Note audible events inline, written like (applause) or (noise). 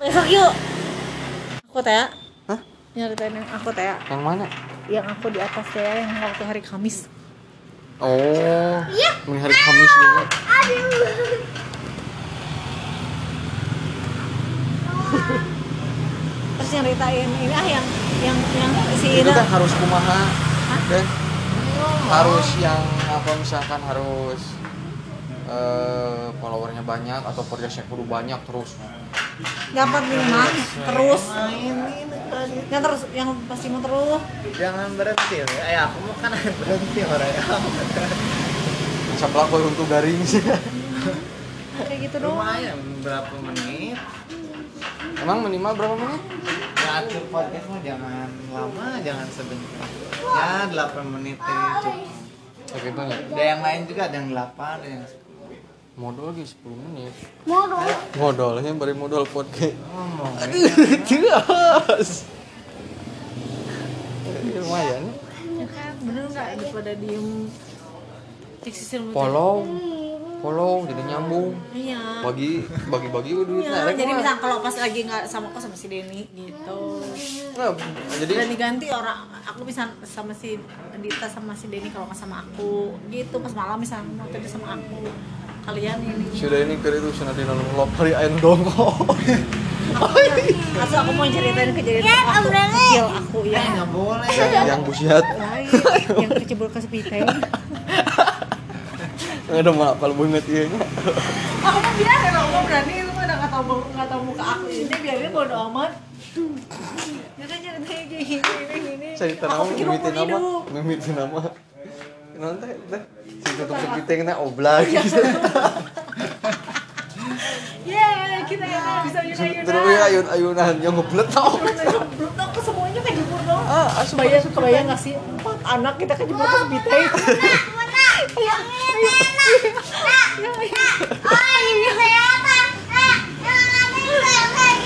yuk yuk aku Tea Hah? nyeritain yang aku Tea Yang mana? yang aku di atas Tea yang waktu hari Kamis Oh. Mending hari Kamis juga. terus nyeritain ini ah yang yang yang si Itu Ina kan harus kumaha. Dan harus yang apa misalkan harus eh followernya banyak atau followers-nya kudu banyak terus. dapat lima terus yang terus yang pasti mau terus jangan berhenti eh aku mau kan (laughs) berhenti orang ya Sebelah gue untuk garing sih. kayak gitu doang lumayan berapa menit Emang minimal berapa menit? ya atur podcast mah jangan lama jangan sebentar ya 8 menit ini cukup Oke banyak. ada yang lain juga ada yang 8 ada yang Modal lagi 10 menit. mau dong Modalnya bari modal podcast. ngomong Jelas. Ya, Lumayan. Iya kan? bener nggak daripada diem cek sisir muter. Follow. Follow jadi nyambung. iya Bagi bagi bagi duit Iya, nah, jadi rek, misal kalau pas lagi nggak sama aku sama si Denny gitu Nah, jadi dan diganti orang aku bisa sama si Dita sama si Denny kalau nggak sama aku gitu pas malam misalnya mau tidur sama aku kalian ini sudah ini kira itu sudah di dalam lokal aing dongo. atau aku mau ceritain kejadian waktu kecil aku eh yang nggak boleh Yang busiat. lain yang kecebur ke speaker Enggak ada malah kalau banget ieu nya. aku mah biarin aku mah berani lu mah udah nggak tahu nggak tahu muka aku ini biarin bodo amat jadi ceritain Ya kan kayak gini gini gini Cerita aku nama pikir mimiti umur nama, hidup mimiti nama. Nanti teh si tutup kepiting teh oblak. ya kita ya bisa yuna Terus yuna ayun-ayunan yang ngeblet tau. belum tau semuanya kejebur dong Ah, asup kebayang kebayang nggak sih empat anak kita kejebur ke Bitei Mana? Yang ini mana? Nak, nak. Oh,